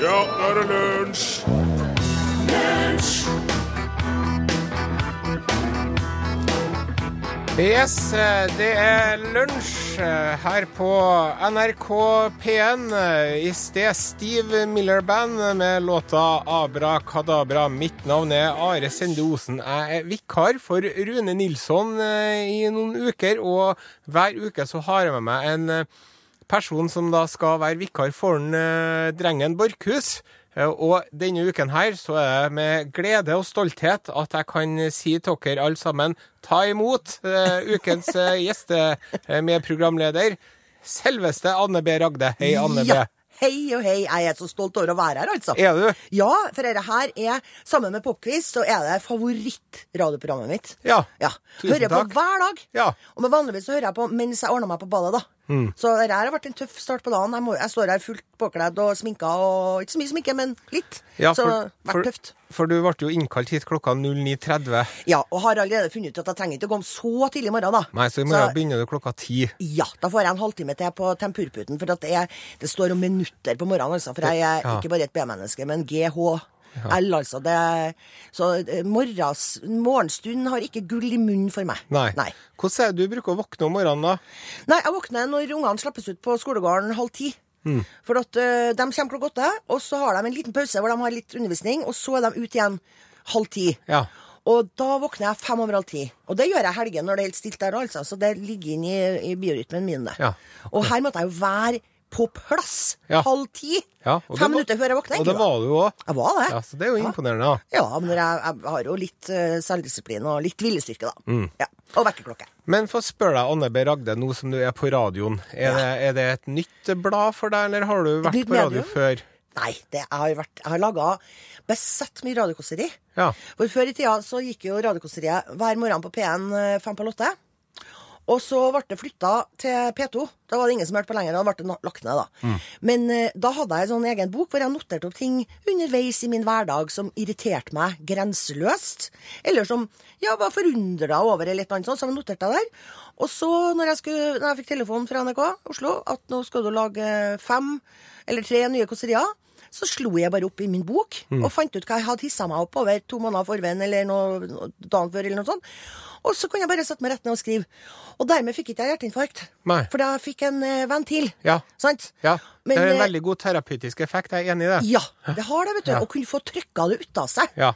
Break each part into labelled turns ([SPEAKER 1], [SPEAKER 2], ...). [SPEAKER 1] Ja, nå er det lunsj!
[SPEAKER 2] Yes, eh, det er lunsj eh, her på NRK P1. eh, I sted Steve Miller Band med låta 'Abra Kadabra'. Mitt navn er Are Sende Osen. Jeg er vikar for Rune Nilsson eh, i noen uker, og hver uke så har jeg med meg en eh, person som da skal være vikar for den, eh, drengen Borkhus. Eh, Og denne uken her så er det med glede og stolthet at jeg kan si til dere alle sammen ta imot eh, ukens eh, gjestemedprogramleder, selveste Anne B. Ragde. Hei, Anne B.
[SPEAKER 3] Ja. Hei og hei, jeg er så stolt over å være her, altså.
[SPEAKER 2] Er du?
[SPEAKER 3] Ja, for dette her er, sammen med Popquiz, så er det favorittradioprogrammet mitt.
[SPEAKER 2] Ja.
[SPEAKER 3] Ja.
[SPEAKER 2] Tusen
[SPEAKER 3] Hører på
[SPEAKER 2] takk.
[SPEAKER 3] hver dag.
[SPEAKER 2] Ja. Mm.
[SPEAKER 3] Og men vanligvis så hører jeg på mens jeg ordner meg på badet, da. Så dette her har vært en tøff start på dagen. Jeg, må, jeg står her fullt påkledd og sminka og Ikke så mye sminke, men litt.
[SPEAKER 2] Ja,
[SPEAKER 3] så
[SPEAKER 2] for- for-
[SPEAKER 3] vært tøft.
[SPEAKER 2] For du ble jo innkalt hit klokka 09.30.
[SPEAKER 3] Ja, og har allerede funnet ut at jeg trenger ikke å komme så tidlig i morgen, da.
[SPEAKER 2] Nei, så i morgen begynner du klokka ti.
[SPEAKER 3] Ja, da får jeg en halvtime til på tempurputen, for at jeg, det står om minutter på morgenen, altså. For jeg er
[SPEAKER 2] Ja.
[SPEAKER 3] ikke bare et B-menneske, men GH. L, altså. Det, så eh, morgens, morgenstunden har ikke gull i munnen for meg.
[SPEAKER 2] Nei.
[SPEAKER 3] Nei.
[SPEAKER 2] Hvordan er det du bruker å våkne om morgenen da?
[SPEAKER 3] Nei, jeg våkner når ungene slappes ut på skolegården halv ti.
[SPEAKER 2] Mm.
[SPEAKER 3] For at eh, de kommer klokka åtte, og så har de en liten pause hvor de har litt undervisning, og så er de ut igjen halv ti.
[SPEAKER 2] Ja.
[SPEAKER 3] Og da våkner jeg fem over halv ti. Og det gjør jeg i helgen når det er helt stilt der, altså. Så det ligger inn i, i biorytmen min, det.
[SPEAKER 2] Ja.
[SPEAKER 3] Og her måtte jeg jo være på plass
[SPEAKER 2] Ja.
[SPEAKER 3] halv ti.
[SPEAKER 2] ja. og det
[SPEAKER 3] Fem
[SPEAKER 2] var-
[SPEAKER 3] minutter før jeg våkna.
[SPEAKER 2] Og det var du òg.
[SPEAKER 3] Jeg var det.
[SPEAKER 2] Ja, så det er jo
[SPEAKER 3] Ja.
[SPEAKER 2] imponerende. da.
[SPEAKER 3] Ja, men jeg, jeg har jo litt eh, selvdisiplin og litt hvilestyrke, da.
[SPEAKER 2] Mm.
[SPEAKER 3] Ja. Og vekkerklokke.
[SPEAKER 2] Men få spørre deg, Anne B. Ragde, nå som du er på radioen. Er, det, er det et nytt blad for deg, eller har du vært
[SPEAKER 3] nytt
[SPEAKER 2] på radio
[SPEAKER 3] medium?
[SPEAKER 2] før?
[SPEAKER 3] Nei, det jeg har vært, jeg har laga besett mye radiokåseri.
[SPEAKER 2] Ja.
[SPEAKER 3] For før i tida så gikk jo radiokåseriet hver morgen på P1 eh, fem på åtte. Og så ble det flytta til P2. Da var det ingen som hørte på lenger. Da ble det na- lagt ned, da. Men eh, da hadde jeg en sånn egen bok hvor jeg noterte opp ting underveis i min hverdag som irriterte meg grenseløst. Eller som jeg var forundra over, eller et eller annet sånt. Så jeg noterte jeg der. Og så, når jeg, skulle, når jeg fikk telefon fra NRK Oslo at nå skal du lage fem eller tre nye kåserier, så slo jeg bare opp i min bok
[SPEAKER 2] Mm.
[SPEAKER 3] og fant ut hva jeg hadde hissa meg opp over to måneder forveien eller noe, noe dagen før. eller noe sånt. Og så kunne jeg bare sette meg rett ned og skrive. Og dermed fikk ikke jeg hjerteinfarkt.
[SPEAKER 2] Nei.
[SPEAKER 3] For da fikk jeg en eh, ventil.
[SPEAKER 2] Ja.
[SPEAKER 3] Sant?
[SPEAKER 2] ja.
[SPEAKER 3] Men,
[SPEAKER 2] det er en
[SPEAKER 3] eh,
[SPEAKER 2] veldig god terapeutisk effekt, jeg er enig i det.
[SPEAKER 3] ja, det har det, vet du. Å kunne få trykka det ut av seg.
[SPEAKER 2] Ja.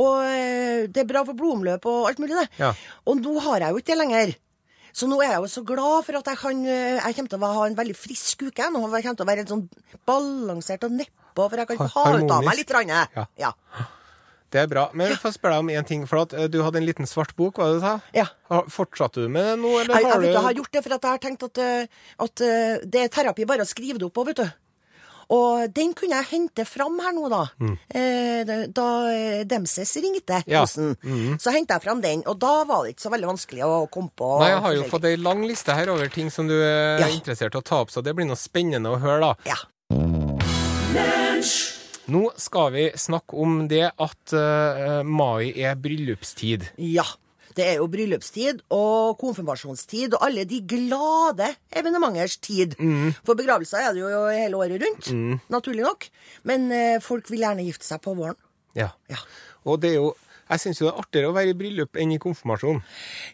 [SPEAKER 3] Og eh, det er bra for blodomløp og alt mulig, det.
[SPEAKER 2] Ja.
[SPEAKER 3] Og nå har jeg jo ikke det lenger. Så nå er jeg jo så glad for at jeg kan eh, Jeg kommer til å ha en veldig frisk uke. jeg Nå Jeg kommer til å være en sånn balansert og nedpå, for jeg kan få ha ut av
[SPEAKER 2] Harmonisk.
[SPEAKER 3] meg litt. Rann, jeg.
[SPEAKER 2] Ja.
[SPEAKER 3] Ja.
[SPEAKER 2] Det er bra. Men få spørre deg om én ting, for at eh, du hadde en liten svart bok, hva var det du sa?
[SPEAKER 3] Ja.
[SPEAKER 2] Har- Fortsatte du med det nå, eller
[SPEAKER 3] Jeg, jeg,
[SPEAKER 2] har
[SPEAKER 3] vet,
[SPEAKER 2] du
[SPEAKER 3] du, jeg har gjort det, for at jeg har tenkt at, eh, at eh, det er terapi bare å skrive det opp på, vet du. Og den kunne jeg hente fram her nå, da. Eh, det- da eh, Demses ringte,
[SPEAKER 2] Mm. Ja. Mm.
[SPEAKER 3] Osen. Så henta jeg fram den, og da var det ikke så veldig vanskelig å komme på.
[SPEAKER 2] Nei, jeg har jo
[SPEAKER 3] forskjellig.
[SPEAKER 2] fått ei lang liste her over ting som du er
[SPEAKER 3] Ja.
[SPEAKER 2] interessert i å ta opp, så det blir noe spennende å høre, da.
[SPEAKER 3] Ja.
[SPEAKER 2] Nå skal vi snakke om det at eh, mai er bryllupstid.
[SPEAKER 3] ja. Det er jo bryllupstid og konfirmasjonstid og alle de glade evenementers tid.
[SPEAKER 2] Mm.
[SPEAKER 3] For begravelser er det jo hele året rundt, naturlig nok. Men eh, folk vil gjerne gifte seg på våren.
[SPEAKER 2] Ja.
[SPEAKER 3] Ja.
[SPEAKER 2] Og det er jo Jeg syns jo det er artigere å være i bryllup enn i konfirmasjon.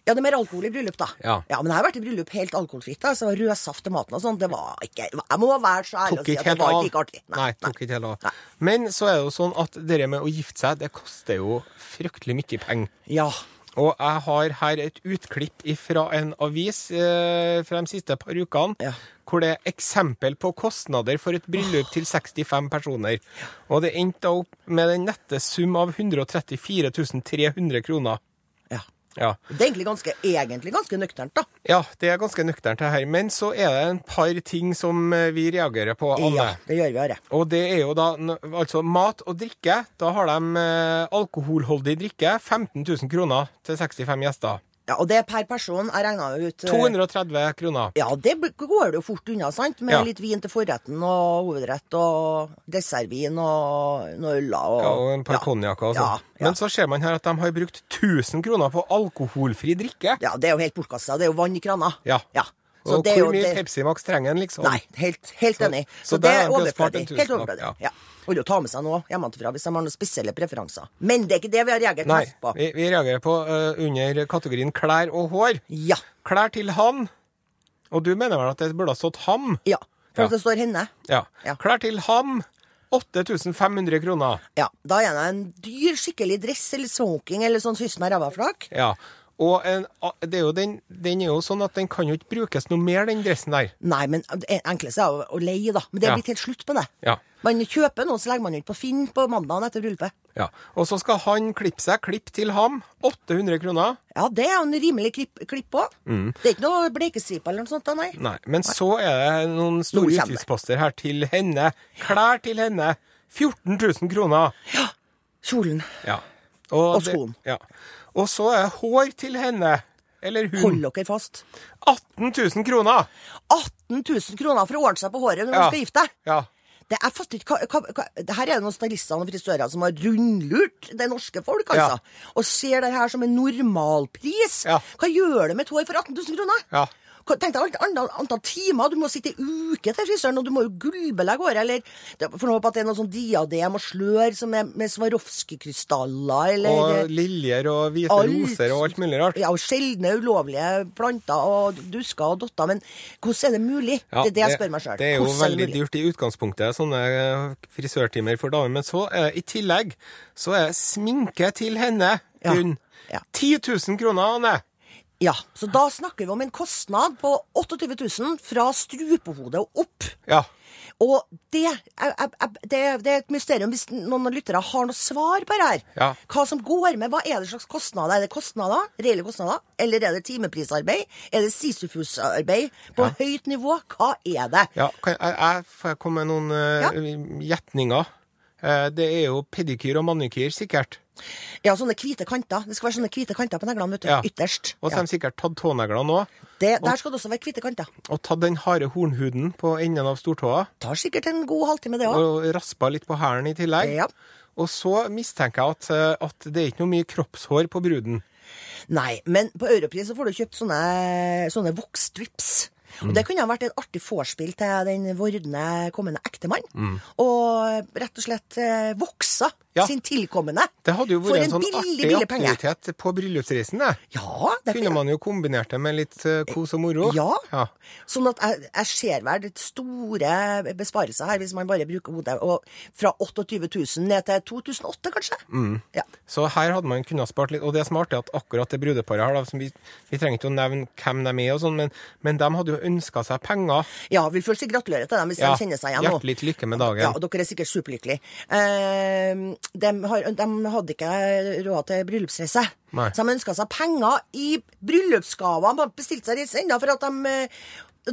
[SPEAKER 3] Ja, det er mer alkohol i bryllup, da.
[SPEAKER 2] Ja.
[SPEAKER 3] Men jeg har vært i bryllup helt alkoholfritt. da, så Rød saft til maten og sånn. Det var ikke Jeg må være så ærlig
[SPEAKER 2] Tok
[SPEAKER 3] og si
[SPEAKER 2] ikke
[SPEAKER 3] at det
[SPEAKER 2] helt
[SPEAKER 3] var
[SPEAKER 2] av.
[SPEAKER 3] ikke like artig.
[SPEAKER 2] Nei, tok ikke helt
[SPEAKER 3] Nei.
[SPEAKER 2] av. Men så er det jo sånn at det med å gifte seg, det koster jo fryktelig mye penger.
[SPEAKER 3] Ja.
[SPEAKER 2] Og jeg har her et utklipp fra en avis eh, fra de siste par ukene,
[SPEAKER 3] Ja.
[SPEAKER 2] hvor det er eksempel på kostnader for et bryllup til 65 personer. Og det endte da opp med den nette sum av 134 300 kroner.
[SPEAKER 3] ja.
[SPEAKER 2] Ja.
[SPEAKER 3] Det er egentlig ganske, egentlig ganske nøkternt, da.
[SPEAKER 2] Ja, det er ganske nøkternt det her. Men så er det en par ting som eh, vi reagerer på, Anne.
[SPEAKER 3] Ja, det gjør vi, Are.
[SPEAKER 2] Og det er jo da n- altså mat og drikke. Da har de eh, alkoholholdig drikke 15 000 kroner til 65 gjester.
[SPEAKER 3] Ja, og det er per person. Jeg regna jo ut eh,
[SPEAKER 2] 230 kroner.
[SPEAKER 3] Ja, det b- går det jo fort unna, sant? Med
[SPEAKER 2] Ja.
[SPEAKER 3] litt vin til forretten og hovedrett og dessertvin og noen øller og
[SPEAKER 2] Ja, og en par konjakker og
[SPEAKER 3] Ja,
[SPEAKER 2] sånn.
[SPEAKER 3] ja.
[SPEAKER 2] Men så ser man her at de har brukt 1000 kroner på alkoholfri drikke.
[SPEAKER 3] ja, det er jo helt bortkasta. Det er jo vann i krana.
[SPEAKER 2] Ja.
[SPEAKER 3] ja. Så
[SPEAKER 2] Og
[SPEAKER 3] det er
[SPEAKER 2] hvor
[SPEAKER 3] jo
[SPEAKER 2] mye
[SPEAKER 3] det-
[SPEAKER 2] Pepsi Max trenger en, liksom?
[SPEAKER 3] Nei, helt, helt enig.
[SPEAKER 2] så
[SPEAKER 3] Så,
[SPEAKER 2] der
[SPEAKER 3] det
[SPEAKER 2] har
[SPEAKER 3] er
[SPEAKER 2] vi spart en
[SPEAKER 3] overflødig. Helt
[SPEAKER 2] tusenlapp,
[SPEAKER 3] overflødig.
[SPEAKER 2] ja.
[SPEAKER 3] Ja. Vil jo ta med seg noe hjemmefra hvis de har noen spesielle preferanser. Men det er ikke det vi har reagert
[SPEAKER 2] Nei,
[SPEAKER 3] mest på.
[SPEAKER 2] vi, vi reagerer på eh, under kategorien klær og hår.
[SPEAKER 3] Ja.
[SPEAKER 2] Klær til han. Og du mener vel at det burde ha stått ham?
[SPEAKER 3] ja. For
[SPEAKER 2] Ja.
[SPEAKER 3] at det står henne.
[SPEAKER 2] Ja.
[SPEAKER 3] Ja.
[SPEAKER 2] Klær til ham. 8500 kroner.
[SPEAKER 3] Ja, Da er det en dyr, skikkelig dress eller smoking eller sånn kyss meg ræva-flak.
[SPEAKER 2] Ja. Og en, a- det er jo den, den er jo sånn at den kan jo ikke brukes noe mer, den dressen der.
[SPEAKER 3] Nei, men det enkleste er å, å leie, da. Men det
[SPEAKER 2] Ja.
[SPEAKER 3] er blitt helt slutt med det.
[SPEAKER 2] Ja.
[SPEAKER 3] Man kjøper noe, så legger man ut på Finn på mandagen etter bryllupet.
[SPEAKER 2] ja. Og så skal han klippe seg. Klipp til ham. 800 kroner.
[SPEAKER 3] Ja, det er jo en rimelig klipp, klipp òg. Det er ikke noe blekestriper eller noe sånt, da, nei.
[SPEAKER 2] Mm. Nei. Men så er det noen store
[SPEAKER 3] Nå kommer det.
[SPEAKER 2] utgiftsposter her til henne. Klær til henne. 14 000 kroner.
[SPEAKER 3] Kjolen.
[SPEAKER 2] Ja.
[SPEAKER 3] Og
[SPEAKER 2] det-
[SPEAKER 3] skoen.
[SPEAKER 2] Ja. Og så er hår til henne. Eller hun.
[SPEAKER 3] Hold dere fast.
[SPEAKER 2] 18 000 kroner.
[SPEAKER 3] 18 000 kroner for å ordne seg på håret når
[SPEAKER 2] Ja.
[SPEAKER 3] du skal gifte deg.
[SPEAKER 2] Ja.
[SPEAKER 3] Det er fatter ikke hva, hva, hva, det Her er det noen stylister og frisører som har rundlurt det norske folk, altså. Og ser det her som en normalpris.
[SPEAKER 2] Ja.
[SPEAKER 3] Hva gjør du med et hår for 18 000 kroner?
[SPEAKER 2] Ja.
[SPEAKER 3] Hva- Tenk deg alt antall, antall timer. Du må sitte i uke til frisøren, og du må jo gullbelegge håret. Eller det- for noe på at det er noe sånn diadem og slør som er med Swarovski-krystaller, eller eh,
[SPEAKER 2] Og liljer og hvite
[SPEAKER 3] Alt.
[SPEAKER 2] roser og alt mulig rart.
[SPEAKER 3] ja, og sjeldne, ulovlige planter og dusker og dotter. Men hvordan er det mulig?
[SPEAKER 2] Ja,
[SPEAKER 3] det er det jeg spør meg sjøl.
[SPEAKER 2] Det er jo veldig dyrt i utgangspunktet, sånne eh, frisørtimer for damer. Men så, eh, i tillegg, så er sminke til henne
[SPEAKER 3] Ja,
[SPEAKER 2] hun
[SPEAKER 3] ja.
[SPEAKER 2] 10 000 kroner, Anne!
[SPEAKER 3] Ja, så da snakker vi om en kostnad på 28 000 fra strupehodet og opp.
[SPEAKER 2] Ja.
[SPEAKER 3] Og det, er- er- er- det, er- det er et mysterium hvis noen av lyttere har noe svar på det her.
[SPEAKER 2] Ja.
[SPEAKER 3] Hva som går med, hva er det slags kostnader? Er det kostnader, reelle kostnader? Eller er det timeprisarbeid? Er det sisyfusarbeid på høyt nivå? Hva er det?
[SPEAKER 2] ja kan, jeg, jeg får jeg komme med noen eh, gjetninger. Eh, det er jo pedikyr og manikyr, sikkert.
[SPEAKER 3] Ja, sånne hvite kanter. Det skal være sånne hvite kanter på neglene, vet du.
[SPEAKER 2] Ja.
[SPEAKER 3] Ytterst.
[SPEAKER 2] Og så
[SPEAKER 3] Ja.
[SPEAKER 2] har de sikkert tatt tåneglene òg.
[SPEAKER 3] Det, der skal det også være hvite kanter.
[SPEAKER 2] Og tatt den harde hornhuden på enden av stortåa.
[SPEAKER 3] Tar sikkert en god halvtime, det òg.
[SPEAKER 2] Og raspa litt på hælen i tillegg.
[SPEAKER 3] Ja.
[SPEAKER 2] Og så mistenker jeg at, eh, at det er ikke noe mye kroppshår på bruden.
[SPEAKER 3] Nei, men på Europris så får du kjøpt sånne, sånne voksstrips. Og det kunne ha vært et artig vorspiel til den vordende kommende ektemann. Og rett og slett eh, voksa
[SPEAKER 2] Mm. Ja.
[SPEAKER 3] sin tilkommende.
[SPEAKER 2] Det hadde jo
[SPEAKER 3] For
[SPEAKER 2] vært en,
[SPEAKER 3] en
[SPEAKER 2] sånn
[SPEAKER 3] billig,
[SPEAKER 2] artig
[SPEAKER 3] billig penge.
[SPEAKER 2] aktivitet på bryllupsreisen. Det.
[SPEAKER 3] Ja, det
[SPEAKER 2] Kunne man jo kombinert det med litt eh, kos og moro.
[SPEAKER 3] Ja.
[SPEAKER 2] ja.
[SPEAKER 3] Sånn at jeg, jeg ser vel litt store besparelser her, hvis man bare bruker hodet. Og fra 28 000 ned til 2008, kanskje.
[SPEAKER 2] Mm.
[SPEAKER 3] Ja.
[SPEAKER 2] Så her hadde man kunnet spart litt. Og det som er artig, er at akkurat det brudeparet her, da, som vi, vi trenger ikke å nevne hvem de er, og sånn, men, men de hadde jo ønska seg penger.
[SPEAKER 3] ja, vi får si gratulerer til dem hvis
[SPEAKER 2] Ja,
[SPEAKER 3] de kjenner seg igjen nå.
[SPEAKER 2] Hjertelig lykke med dagen.
[SPEAKER 3] Ja, og dere er sikkert superlykkelige. Eh, de, har, de hadde ikke råd til bryllupsreise.
[SPEAKER 2] Nei.
[SPEAKER 3] Så de ønska seg penger i bryllupsgaver. De bestilte seg reise ennå, for at de eh,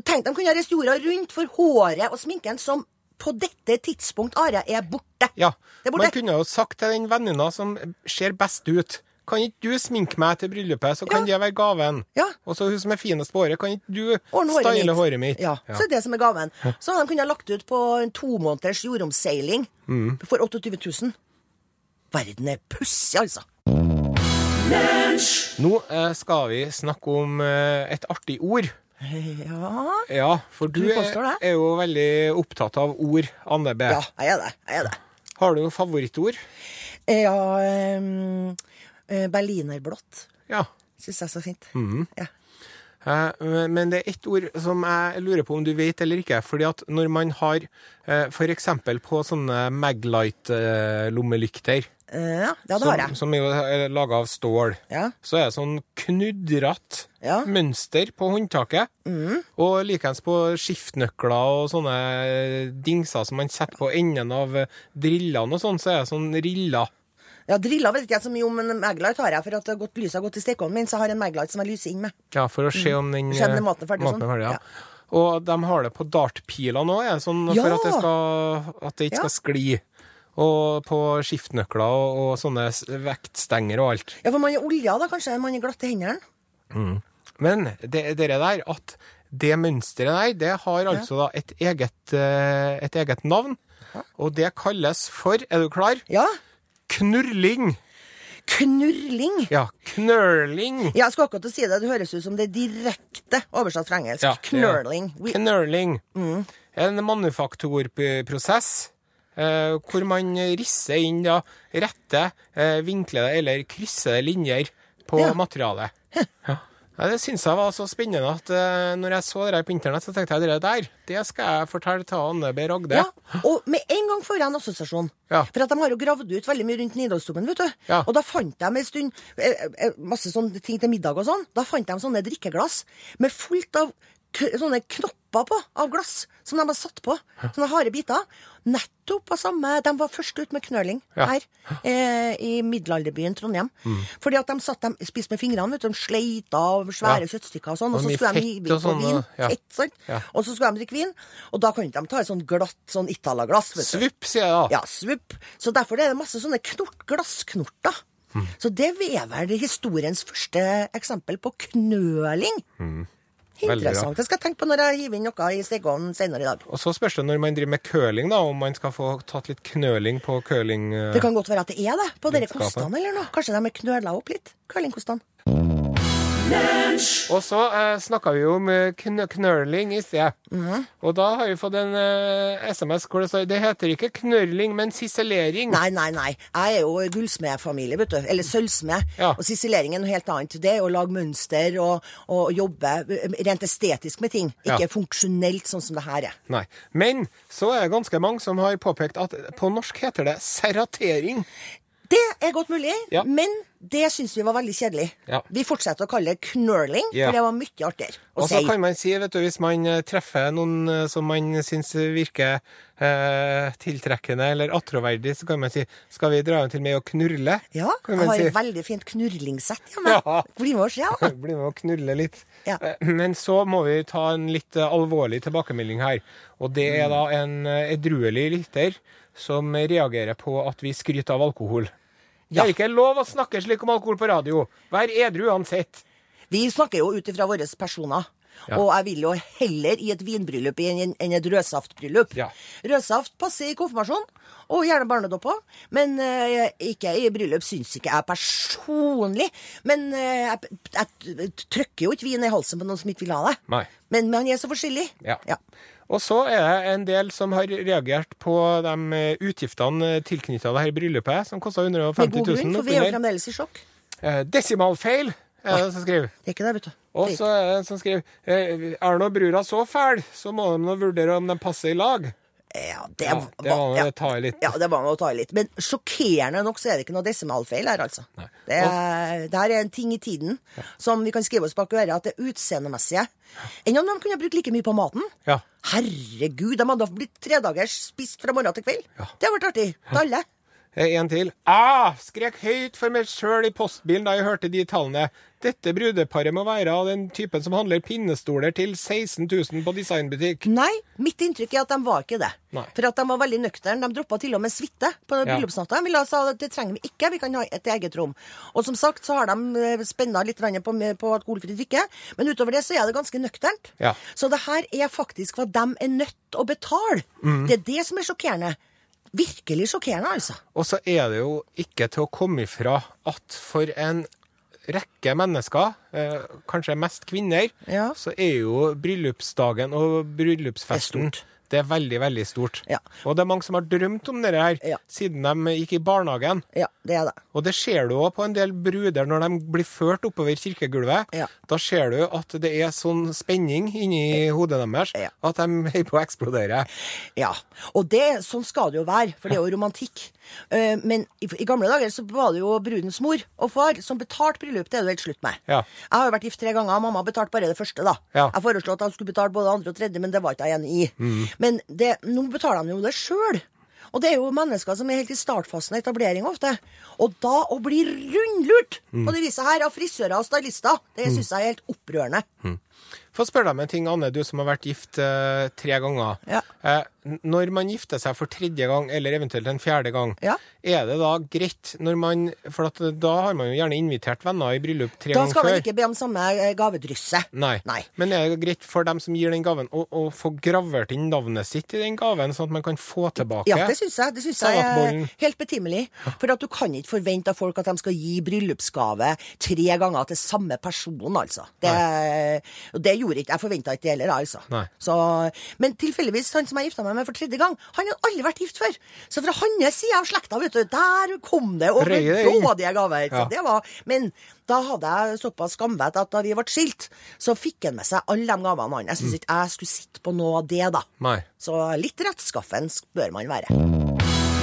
[SPEAKER 3] tenkte de kunne reist jorda rundt for håret og sminken som på dette tidspunkt, Are, er borte.
[SPEAKER 2] Ja.
[SPEAKER 3] Det er borte.
[SPEAKER 2] Man kunne jo sagt til den venninna som ser best ut kan ikke du sminke meg til bryllupet, så kan det være gaven?
[SPEAKER 3] Ja.
[SPEAKER 2] Og så hun som er finest på håret, kan ikke du
[SPEAKER 3] Ordne håret
[SPEAKER 2] style
[SPEAKER 3] mitt.
[SPEAKER 2] håret mitt?
[SPEAKER 3] Ja, Så det er det som er gaven. Så hadde de kunnet lagt ut på en to måneders jordomseiling
[SPEAKER 2] Mm.
[SPEAKER 3] for 28 000. Verden er pussig, altså.
[SPEAKER 2] Nå eh, skal vi snakke om eh, et artig ord.
[SPEAKER 3] Ja,
[SPEAKER 2] Ja, for du,
[SPEAKER 3] Du
[SPEAKER 2] er,
[SPEAKER 3] påstår det.
[SPEAKER 2] er jo veldig opptatt av ord, Anne B.
[SPEAKER 3] ja jeg er det. Jeg er det.
[SPEAKER 2] Har du noe favorittord?
[SPEAKER 3] Ja ehm, eh, Berlinerblått
[SPEAKER 2] Ja.
[SPEAKER 3] syns jeg er så fint. Ja.
[SPEAKER 2] Eh, Men det er ett ord som jeg lurer på om du vet eller ikke. fordi at når man har eh, for eksempel på sånne Maglight-lommelykter,
[SPEAKER 3] Eh, ja, ja, det har
[SPEAKER 2] som,
[SPEAKER 3] jeg.
[SPEAKER 2] som er jo laga av stål,
[SPEAKER 3] Ja.
[SPEAKER 2] så er det sånn knudrete
[SPEAKER 3] Ja. Mm.
[SPEAKER 2] mønster på håndtaket. Og likeens på skiftenøkler og sånne eh, dingser som man setter på enden av eh, drillene og sånn, så er det sånn riller.
[SPEAKER 3] Ja, Drilla vet ikke jeg så mye om, men Maglite har jeg, for at det har gått, lyset har gått i stekeovnen min, så jeg har en Maglite som jeg lyser inn med.
[SPEAKER 2] Ja, for å se om den
[SPEAKER 3] Se om den
[SPEAKER 2] eh,
[SPEAKER 3] maten Mm. er ferdig og sånn.
[SPEAKER 2] ferdig, ja.
[SPEAKER 3] Ja.
[SPEAKER 2] Og de har det på dartpilene òg, sånn,
[SPEAKER 3] Ja!
[SPEAKER 2] for at det, skal, at det ikke
[SPEAKER 3] Ja.
[SPEAKER 2] skal skli. Og på skiftenøkler og, og sånne s- vektstenger og alt.
[SPEAKER 3] Ja, for man er olja, da, kanskje? Man er glatt i hendene?
[SPEAKER 2] Men det, dere der, at det mønsteret der, det har altså da et eget, eh, et eget navn. Og det kalles for, er du klar,
[SPEAKER 3] Ja.
[SPEAKER 2] knurling.
[SPEAKER 3] Knurling.
[SPEAKER 2] Ja, knurling.
[SPEAKER 3] Ja, jeg skulle akkurat til å si det. Det høres ut som det er direkte oversatt fra engelsk.
[SPEAKER 2] Ja, det er-
[SPEAKER 3] Knurling. We,
[SPEAKER 2] Knurling. En manufakturprosess eh, hvor man risser inn da rette, eh, vinklede eller kryssede linjer på
[SPEAKER 3] Ja.
[SPEAKER 2] materialet. Ja. Ja, det syns jeg var så spennende at eh, når jeg så det der på internett, så tenkte jeg det der, det skal jeg fortelle til Anne B. Ragde.
[SPEAKER 3] Ja, og med en gang får jeg en assosiasjon.
[SPEAKER 2] Ja.
[SPEAKER 3] For at de har jo gravd ut veldig mye rundt Nidarosdomen, vet du.
[SPEAKER 2] Ja.
[SPEAKER 3] Og da fant de en stund eh, eh, masse sånne ting til middag og sånn. Da fant de sånne drikkeglass med fullt av k sånne knopper på av glass som de har satt på. Sånne harde biter. Nettopp av samme De var først ut med knøling
[SPEAKER 2] Ja. Mm.
[SPEAKER 3] her eh, i middelalderbyen Trondheim. Fordi at de satt dem spiste med fingrene, vet du. De sleita av svære kjøttstykker og sånn.
[SPEAKER 2] Og
[SPEAKER 3] Og så
[SPEAKER 2] mye
[SPEAKER 3] skulle de
[SPEAKER 2] fett
[SPEAKER 3] hive i
[SPEAKER 2] og
[SPEAKER 3] på
[SPEAKER 2] sånn,
[SPEAKER 3] vin.
[SPEAKER 2] og- ja.
[SPEAKER 3] Fett, sant?
[SPEAKER 2] Ja.
[SPEAKER 3] Og så skulle de drikke vin, og da kan ikke de ta et sånn glatt sånn Itala-glass. vet du.
[SPEAKER 2] Svupp, sier jeg da.
[SPEAKER 3] Ja, svupp. Så derfor er det masse sånne knort, glassknorter.
[SPEAKER 2] Mm.
[SPEAKER 3] Så det er vel historiens første eksempel på knøling.
[SPEAKER 2] Mm. Veldig bra.
[SPEAKER 3] Interessant. Det skal jeg tenke på når jeg hiver inn noe i stekeovnen senere i dag.
[SPEAKER 2] Og så spørs det når man driver med curling, da, om man skal få tatt litt knøling på curling... eh,
[SPEAKER 3] Det kan godt være at det er det, på dere
[SPEAKER 2] Lidenskapet.
[SPEAKER 3] kostene eller noe. Kanskje de er knøla opp litt? Curlingkostene.
[SPEAKER 2] Og så eh, snakka vi jo om eh, kn knørling i sted.
[SPEAKER 3] Mhm.
[SPEAKER 2] Og da har vi fått en eh, SMS hvor det står det heter ikke knørling, men siselering.
[SPEAKER 3] Nei, nei, nei. Jeg er jo gullsmedfamilie, vet du. Eller sølvsmed.
[SPEAKER 2] Ja.
[SPEAKER 3] Og sissilering er noe helt annet. Det er jo å lage mønster og, og jobbe rent estetisk med ting. Ikke
[SPEAKER 2] Ja.
[SPEAKER 3] funksjonelt, sånn som det her er.
[SPEAKER 2] Nei. Men så er det ganske mange som har påpekt at på norsk heter det serratering.
[SPEAKER 3] Det er godt mulig,
[SPEAKER 2] Ja.
[SPEAKER 3] men det syns vi var veldig kjedelig.
[SPEAKER 2] Ja.
[SPEAKER 3] Vi fortsetter å kalle det knurling,
[SPEAKER 2] Ja.
[SPEAKER 3] for det var mye artigere å
[SPEAKER 2] Og så
[SPEAKER 3] si.
[SPEAKER 2] kan man si, vet du, hvis man eh, treffer noen eh, som man syns virker eh, tiltrekkende eller attråverdig, så kan man si skal vi dra hjem til meg og knurle?
[SPEAKER 3] Ja,
[SPEAKER 2] kan
[SPEAKER 3] jeg
[SPEAKER 2] man
[SPEAKER 3] har
[SPEAKER 2] si.
[SPEAKER 3] et veldig fint knurlingssett hjemme.
[SPEAKER 2] Ja.
[SPEAKER 3] Bli med oss, ja.
[SPEAKER 2] Bli med og knulle litt.
[SPEAKER 3] Ja.
[SPEAKER 2] Eh, Men så må vi ta en litt eh, alvorlig tilbakemelding her. Og det er da en eh, edruelig lytter som reagerer på at vi skryter av alkohol. Det
[SPEAKER 3] Ja.
[SPEAKER 2] er ikke lov å snakke slik om alkohol på radio. Vær edru uansett.
[SPEAKER 3] Vi snakker jo ut ifra våre personer. Og jeg vil jo heller i et vinbryllup enn enn et rødsaftbryllup.
[SPEAKER 2] Ja.
[SPEAKER 3] Rødsaft passer i konfirmasjon, og gjerne barnedåp òg. Men eh, ikke i bryllup, syns ikke jeg personlig. Men eh, jeg, jeg trykker jo ikke vin i halsen på noen som ikke vil ha det.
[SPEAKER 2] Nei.
[SPEAKER 3] Men man er så forskjellig.
[SPEAKER 2] Ja. Og så er det en del som har reagert på de eh, utgiftene tilknytta dette bryllupet, som kosta 150 000.
[SPEAKER 3] Med god grunn, for vi er jo
[SPEAKER 2] oppunder.
[SPEAKER 3] fremdeles i sjokk.
[SPEAKER 2] Eh, Desimalfeil, er det som skriver.
[SPEAKER 3] Det er ikke det, vet du.
[SPEAKER 2] Og
[SPEAKER 3] Det er
[SPEAKER 2] så er det en som skriver eh, Er nå brura så fæl, så må de nå vurdere om de passer i lag.
[SPEAKER 3] ikke- Ja, det,
[SPEAKER 2] Ja,
[SPEAKER 3] var-
[SPEAKER 2] det var
[SPEAKER 3] ja.
[SPEAKER 2] å ta i litt.
[SPEAKER 3] Ja, det var med å ta i litt. Men sjokkerende nok så er det ikke noe desimalfeil her, altså. Det, er, det her er en ting i tiden som vi kan skrive oss bak øret, at det utseendemessige Enn om de kunne brukt like mye på maten?
[SPEAKER 2] Ja.
[SPEAKER 3] Herregud, de hadde blitt tredagers spist fra morgen til kveld. Det hadde vært artig. Til alle.
[SPEAKER 2] Eh, En til. Ah, skrek høyt for meg sjøl i postbilen da jeg hørte de tallene. Dette brudeparet må være av den typen som handler pinnestoler til 16 000 på designbutikk.
[SPEAKER 3] Nei, mitt inntrykk er at de var ikke det.
[SPEAKER 2] Nei.
[SPEAKER 3] For at de var veldig nøkterne. De droppa til og med suite på
[SPEAKER 2] Ja.
[SPEAKER 3] bryllupsnatta. De ville sa at det trenger vi ikke, vi kan ha et eget rom. Og som sagt så har de spenna litt grann på, på alkoholfri drikke, men utover det så er det ganske nøkternt.
[SPEAKER 2] Ja.
[SPEAKER 3] Så det her er faktisk hva de er nødt å betale.
[SPEAKER 2] Mm.
[SPEAKER 3] Det er det som er sjokkerende. Virkelig sjokkerende, altså.
[SPEAKER 2] Og så er det jo ikke til å komme ifra at for en rekke mennesker, eh, kanskje mest kvinner,
[SPEAKER 3] Ja.
[SPEAKER 2] så er jo bryllupsdagen og bryllupsfesten
[SPEAKER 3] Det er stort.
[SPEAKER 2] det er veldig, veldig stort.
[SPEAKER 3] Ja.
[SPEAKER 2] Og det er mange som har drømt om dette her
[SPEAKER 3] Ja.
[SPEAKER 2] siden de gikk i barnehagen.
[SPEAKER 3] Ja, det er det.
[SPEAKER 2] Og det ser du òg på en del bruder når de blir ført oppover kirkegulvet.
[SPEAKER 3] Ja.
[SPEAKER 2] Da ser du at det er sånn spenning inni hodet deres
[SPEAKER 3] Ja.
[SPEAKER 2] at de holder på å eksplodere.
[SPEAKER 3] Ja, og det, sånn skal det jo være, for det er jo romantikk. Eh, Men i, i gamle dager så var det jo brudens mor og far som betalte bryllup. Det er det helt slutt med.
[SPEAKER 2] Ja.
[SPEAKER 3] Jeg har jo vært gift tre ganger, og mamma betalte bare det første, da.
[SPEAKER 2] Ja. Mm.
[SPEAKER 3] Jeg foreslo at han skulle betale både det andre og tredje, men det var ikke jeg enig i. Men det, nå betaler han jo det sjøl. Og det er jo mennesker som er helt i startfasen av etablering ofte. Og da å bli rundlurt
[SPEAKER 2] Mm.
[SPEAKER 3] på det viset her av frisører og stylister, det syns jeg er helt opprørende.
[SPEAKER 2] Mm. Få spørre deg om en ting, Anne, du som har vært gift eh, tre ganger.
[SPEAKER 3] Ja.
[SPEAKER 2] Eh, n- når man gifter seg for tredje gang, eller eventuelt en fjerde gang,
[SPEAKER 3] Ja.
[SPEAKER 2] er det da greit når man For at da har man jo gjerne invitert venner i bryllup tre
[SPEAKER 3] Da
[SPEAKER 2] ganger
[SPEAKER 3] skal
[SPEAKER 2] før.
[SPEAKER 3] man ikke be om samme eh, gavedrysset.
[SPEAKER 2] Nei.
[SPEAKER 3] Nei.
[SPEAKER 2] Men er det greit for dem som gir den gaven, å, å få gravert inn navnet sitt i den gaven, sånn at man kan få tilbake?
[SPEAKER 3] Ja, det syns jeg. Det synes jeg er
[SPEAKER 2] Salatbollen.
[SPEAKER 3] helt betimelig. For at du kan ikke forvente av folk at de skal gi bryllupsgave tre ganger til samme person, altså. Det, Og det gjorde ikke jeg. forventet ikke det heller, jeg, altså.
[SPEAKER 2] Nei.
[SPEAKER 3] Så, men tilfeldigvis, han som jeg gifta meg med for tredje gang, han hadde aldri vært gift før. Så fra hans side av slekta, vet du, der kom det og
[SPEAKER 2] Røy det inn.
[SPEAKER 3] dådige gaver. Så
[SPEAKER 2] Ja.
[SPEAKER 3] det var, men da hadde jeg såpass skamvett at da vi ble skilt, så fikk han med seg alle de gavene han. Jeg
[SPEAKER 2] Mm.
[SPEAKER 3] syns ikke jeg skulle sitte på noe av det, da.
[SPEAKER 2] Nei.
[SPEAKER 3] Så litt rettskaffen bør man være.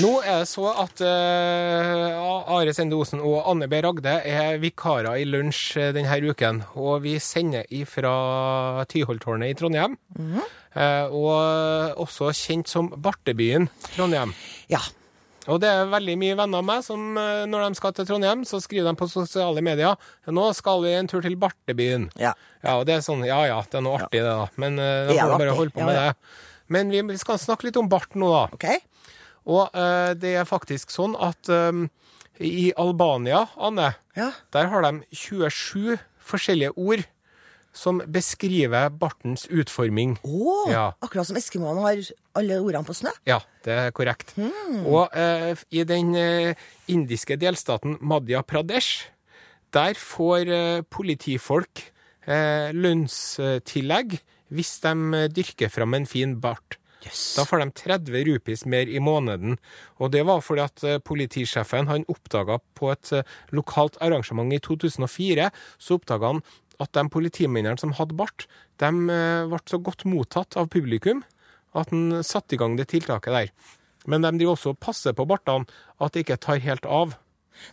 [SPEAKER 2] Nå er det så at eh, Are Sende Osen og Anne B. Ragde er vikarer i lunsj eh, denne uken. Og vi sender ifra Tyholttårnet i Trondheim.
[SPEAKER 3] Mhm.
[SPEAKER 2] eh, og også kjent som Bartebyen Trondheim.
[SPEAKER 3] Ja.
[SPEAKER 2] Og det er veldig mye venner av meg som eh, når de skal til Trondheim, så skriver de på sosiale medier nå skal vi en tur til Bartebyen.
[SPEAKER 3] ja.
[SPEAKER 2] Ja, og det er sånn, ja ja, det er noe artig det da, men eh, da
[SPEAKER 3] Det er
[SPEAKER 2] får du bare
[SPEAKER 3] artig,
[SPEAKER 2] holde på
[SPEAKER 3] ja,
[SPEAKER 2] med
[SPEAKER 3] ja.
[SPEAKER 2] det. Men vi skal snakke litt om bart nå da.
[SPEAKER 3] OK?
[SPEAKER 2] Og eh, det er faktisk sånn at eh, i Albania, Anne,
[SPEAKER 3] Ja.
[SPEAKER 2] der har de 27 forskjellige ord som beskriver bartens utforming.
[SPEAKER 3] Å!
[SPEAKER 2] Ja.
[SPEAKER 3] Akkurat som eskimoene har alle ordene på snø.
[SPEAKER 2] Ja, det er korrekt. Og eh, i den eh, indiske delstaten Madhya Pradesh, der får eh, politifolk eh, lønnstillegg hvis de eh, dyrker fram en fin bart. Da får de 30 rupees mer i måneden. Og det var fordi at eh, politisjefen han oppdaga på et eh, lokalt arrangement i 2004, så oppdaga han at de politimennene som hadde bart, de eh, ble så godt mottatt av publikum at han satte i gang det tiltaket der. Men de driver også og passer på bartene, at det ikke tar helt av.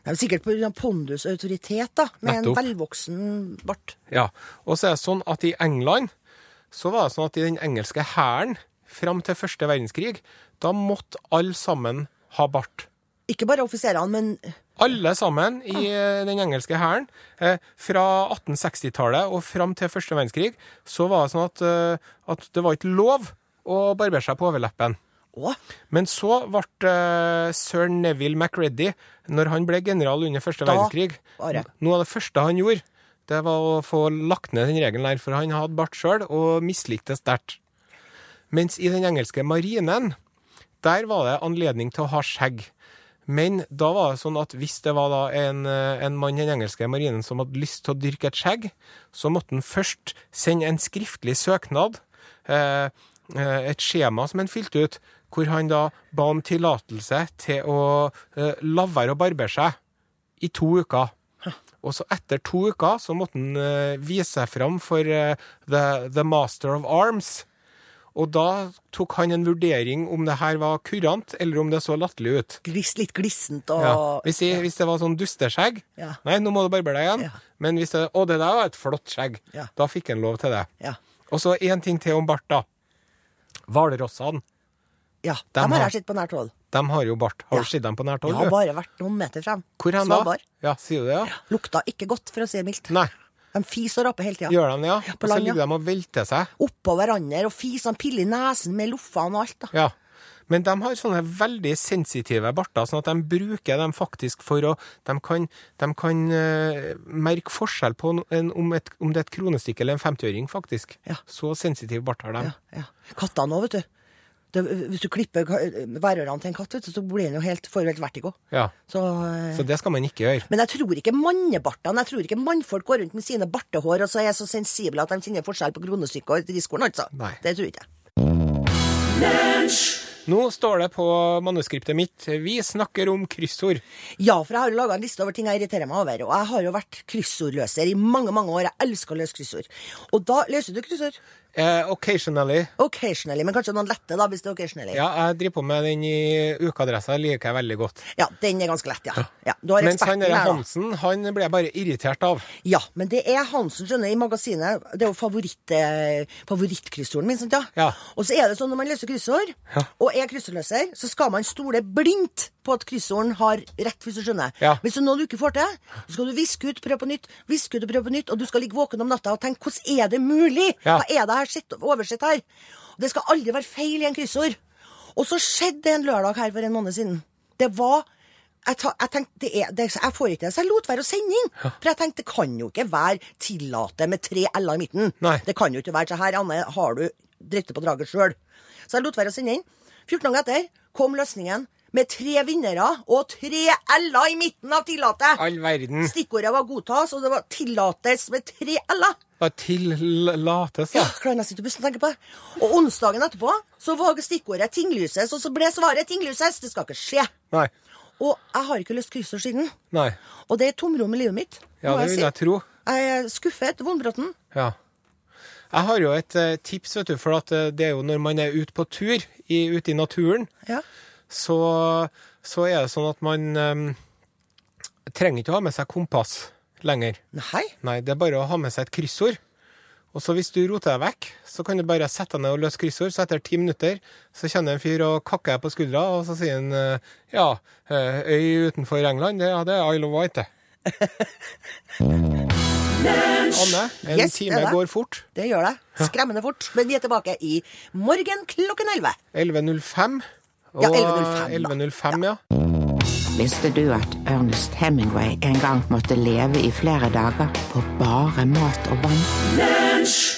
[SPEAKER 3] Det er jo sikkert pga. Pondus autoritet, da, med
[SPEAKER 2] Nettopp.
[SPEAKER 3] en velvoksen bart.
[SPEAKER 2] Ja, og så er det sånn at i England så var det sånn at i den engelske hæren fram til første verdenskrig, da måtte alle sammen ha bart.
[SPEAKER 3] Ikke bare offiserene, men
[SPEAKER 2] Alle sammen i eh, den engelske hæren. Eh, fra 1860-tallet og fram til første verdenskrig så var det sånn at, eh, at det var ikke lov å barbere seg på overleppen.
[SPEAKER 3] Å,
[SPEAKER 2] Men så ble eh, sir Neville MacReady, når han ble general under første
[SPEAKER 3] Da
[SPEAKER 2] verdenskrig
[SPEAKER 3] var det.
[SPEAKER 2] Noe av det første han gjorde, det var å få lagt ned den regelen der, for han hadde bart sjøl og mislikte det sterkt. Mens i den engelske marinen, der var det anledning til å ha skjegg. Men da var det sånn at hvis det var da en, eh, en mann i den engelske marinen som hadde lyst til å dyrke et skjegg, så måtte han først sende en skriftlig søknad, eh, eh, et skjema som han fylte ut, hvor han da ba om tillatelse til å eh, la være å barbere seg i to uker. Og så etter to uker så måtte han eh, vise seg fram for eh, the, the Master of Arms. Og da tok han en vurdering om det her var kurant, eller om det så latterlig ut.
[SPEAKER 3] glis, litt glissent og
[SPEAKER 2] Ja. Hvis, jeg, hvis det var sånn dusteskjegg
[SPEAKER 3] Ja.
[SPEAKER 2] Nei, nå må du barbere deg igjen.
[SPEAKER 3] Ja.
[SPEAKER 2] Men hvis det Å, det der var et flott skjegg.
[SPEAKER 3] Ja.
[SPEAKER 2] Da fikk han lov til det.
[SPEAKER 3] Ja.
[SPEAKER 2] Og så én ting til om bart, da. Hvalrossene,
[SPEAKER 3] ja.
[SPEAKER 2] Dem
[SPEAKER 3] Dem har
[SPEAKER 2] har-
[SPEAKER 3] jeg sett på nært hold.
[SPEAKER 2] de har jo bart. Har
[SPEAKER 3] Ja.
[SPEAKER 2] du sett dem på nært
[SPEAKER 3] Jeg
[SPEAKER 2] hold?
[SPEAKER 3] har
[SPEAKER 2] du?
[SPEAKER 3] bare vært noen meter frem.
[SPEAKER 2] Hvor hen da?
[SPEAKER 3] Svalbard.
[SPEAKER 2] Ja, sier du det, ja?
[SPEAKER 3] Lukta ikke godt, for å si det mildt.
[SPEAKER 2] Nei.
[SPEAKER 3] De fiser og raper hele tida.
[SPEAKER 2] Gjør de det, ja?
[SPEAKER 3] Ja, på
[SPEAKER 2] og så
[SPEAKER 3] land, ja.
[SPEAKER 2] ligger de og velter seg.
[SPEAKER 3] Oppå hverandre og fiser. De piller i nesen med loffene og alt. da.
[SPEAKER 2] Ja. Men de har sånne veldig sensitive barter, sånn at de bruker dem faktisk for å De kan, de kan eh, merke forskjell på no- en, om, et, om det er et kronestykke eller en 50-øring, faktisk.
[SPEAKER 3] Ja.
[SPEAKER 2] Så sensitive barter har de.
[SPEAKER 3] Ja, ja. Kattene òg, vet du. Det, hvis du klipper ka- værørene til en katt, vet du, så blir den jo helt, får jo helt vertigo.
[SPEAKER 2] Ja.
[SPEAKER 3] Så, eh,
[SPEAKER 2] Så det skal man ikke gjøre.
[SPEAKER 3] men jeg tror ikke mannebartene Jeg tror ikke mannfolk går rundt med sine bartehår og så er så sensible at de kjenner forskjell på kronestykket og riskorn, altså.
[SPEAKER 2] Nei.
[SPEAKER 3] Det tror ikke jeg.
[SPEAKER 2] Nå står det på manuskriptet mitt Vi snakker om kryssord.
[SPEAKER 3] Ja, for jeg har jo laga en liste over ting jeg irriterer meg over. Og jeg har jo vært kryssordløser i mange mange år. Jeg elsker å løse kryssord. Og da løser du kryssord.
[SPEAKER 2] Eh, occasionally.
[SPEAKER 3] Occasionally, men kanskje noen lette, da, hvis det er occasionally.
[SPEAKER 2] Ja, jeg driver på med den i ukeadressa, liker jeg veldig godt.
[SPEAKER 3] Ja, den er ganske lett, ja. ja du har
[SPEAKER 2] Mens
[SPEAKER 3] eksperten
[SPEAKER 2] han der
[SPEAKER 3] her, da.
[SPEAKER 2] Hansen, han ble jeg bare irritert av.
[SPEAKER 3] Ja, men det er Hansen, skjønner jeg, i magasinet. Det er jo favoritt, eh, favorittkryssorden min. sant ja?
[SPEAKER 2] Ja.
[SPEAKER 3] Og så er det sånn når man løser kryssord, og er kryssordløser, så skal man stole blindt på at kryssorden har rett, hvis du skjønner.
[SPEAKER 2] Ja.
[SPEAKER 3] Hvis det er noe du ikke får til, så skal du viske ut, prøve på nytt, viske ut og prøve på nytt, og du skal ligge våken om natta og tenke 'hvordan er det mulig'?
[SPEAKER 2] Ja.
[SPEAKER 3] Hva er det her sett, oversett her? Og det skal aldri være feil i en kryssord. Og så skjedde det en lørdag her for en måned siden. Det var jeg, ta, jeg tenkte, det er, det, jeg får ikke det, så jeg lot være å sende inn. For jeg tenkte, det kan jo ikke være tillate med tre l-er i midten.
[SPEAKER 2] Nei.
[SPEAKER 3] Det kan jo ikke være så her, Anne, har du dritt på draget sjøl? Så jeg lot være å sende inn. 14 dager etter kom løsningen med tre vinnere og tre l-er i midten av tillate.
[SPEAKER 2] All verden.
[SPEAKER 3] Stikkordet var godtas, og det var tillates med tre l-er.
[SPEAKER 2] Bare tillates,
[SPEAKER 3] Ja,
[SPEAKER 2] da.
[SPEAKER 3] klarer nesten ikke å puste når jeg tenker på det. Og onsdagen etterpå så var stikkordet tinglyses, og så ble svaret tinglyses. Det skal ikke skje.
[SPEAKER 2] Nei.
[SPEAKER 3] Og jeg har ikke løst kryssord siden.
[SPEAKER 2] Nei.
[SPEAKER 3] Og det er tomrom i livet mitt.
[SPEAKER 2] Ja,
[SPEAKER 3] må
[SPEAKER 2] det vil jeg tro.
[SPEAKER 3] Jeg er skuffet, Vonbrotten.
[SPEAKER 2] Ja. Jeg har jo et eh, tips, vet du, for at eh, det er jo når man er ute på tur, i, ute i naturen,
[SPEAKER 3] Ja.
[SPEAKER 2] så, så er det sånn at man eh, trenger ikke å ha med seg kompass lenger.
[SPEAKER 3] Nei.
[SPEAKER 2] Nei, det er bare å ha med seg et kryssord. Og så hvis du roter deg vekk, så kan du bare sette deg ned og løse kryssord. Så etter ti minutter så kjenner en fyr og kakker deg på skuldra, og så sier han eh, ja, eh, øy utenfor England, det, ja, det er Isle of Wight, det. Anne, en
[SPEAKER 3] Yes, det er
[SPEAKER 2] time
[SPEAKER 3] det.
[SPEAKER 2] går fort.
[SPEAKER 3] Det gjør det. Skremmende fort. Men vi er tilbake i morgen klokken 11.
[SPEAKER 2] 11.05. Og
[SPEAKER 3] Ja, 11.05, da.
[SPEAKER 2] 11.05, ja.
[SPEAKER 4] Visste du at Ernest Hemingway en gang måtte leve i flere dager på bare mat og vann?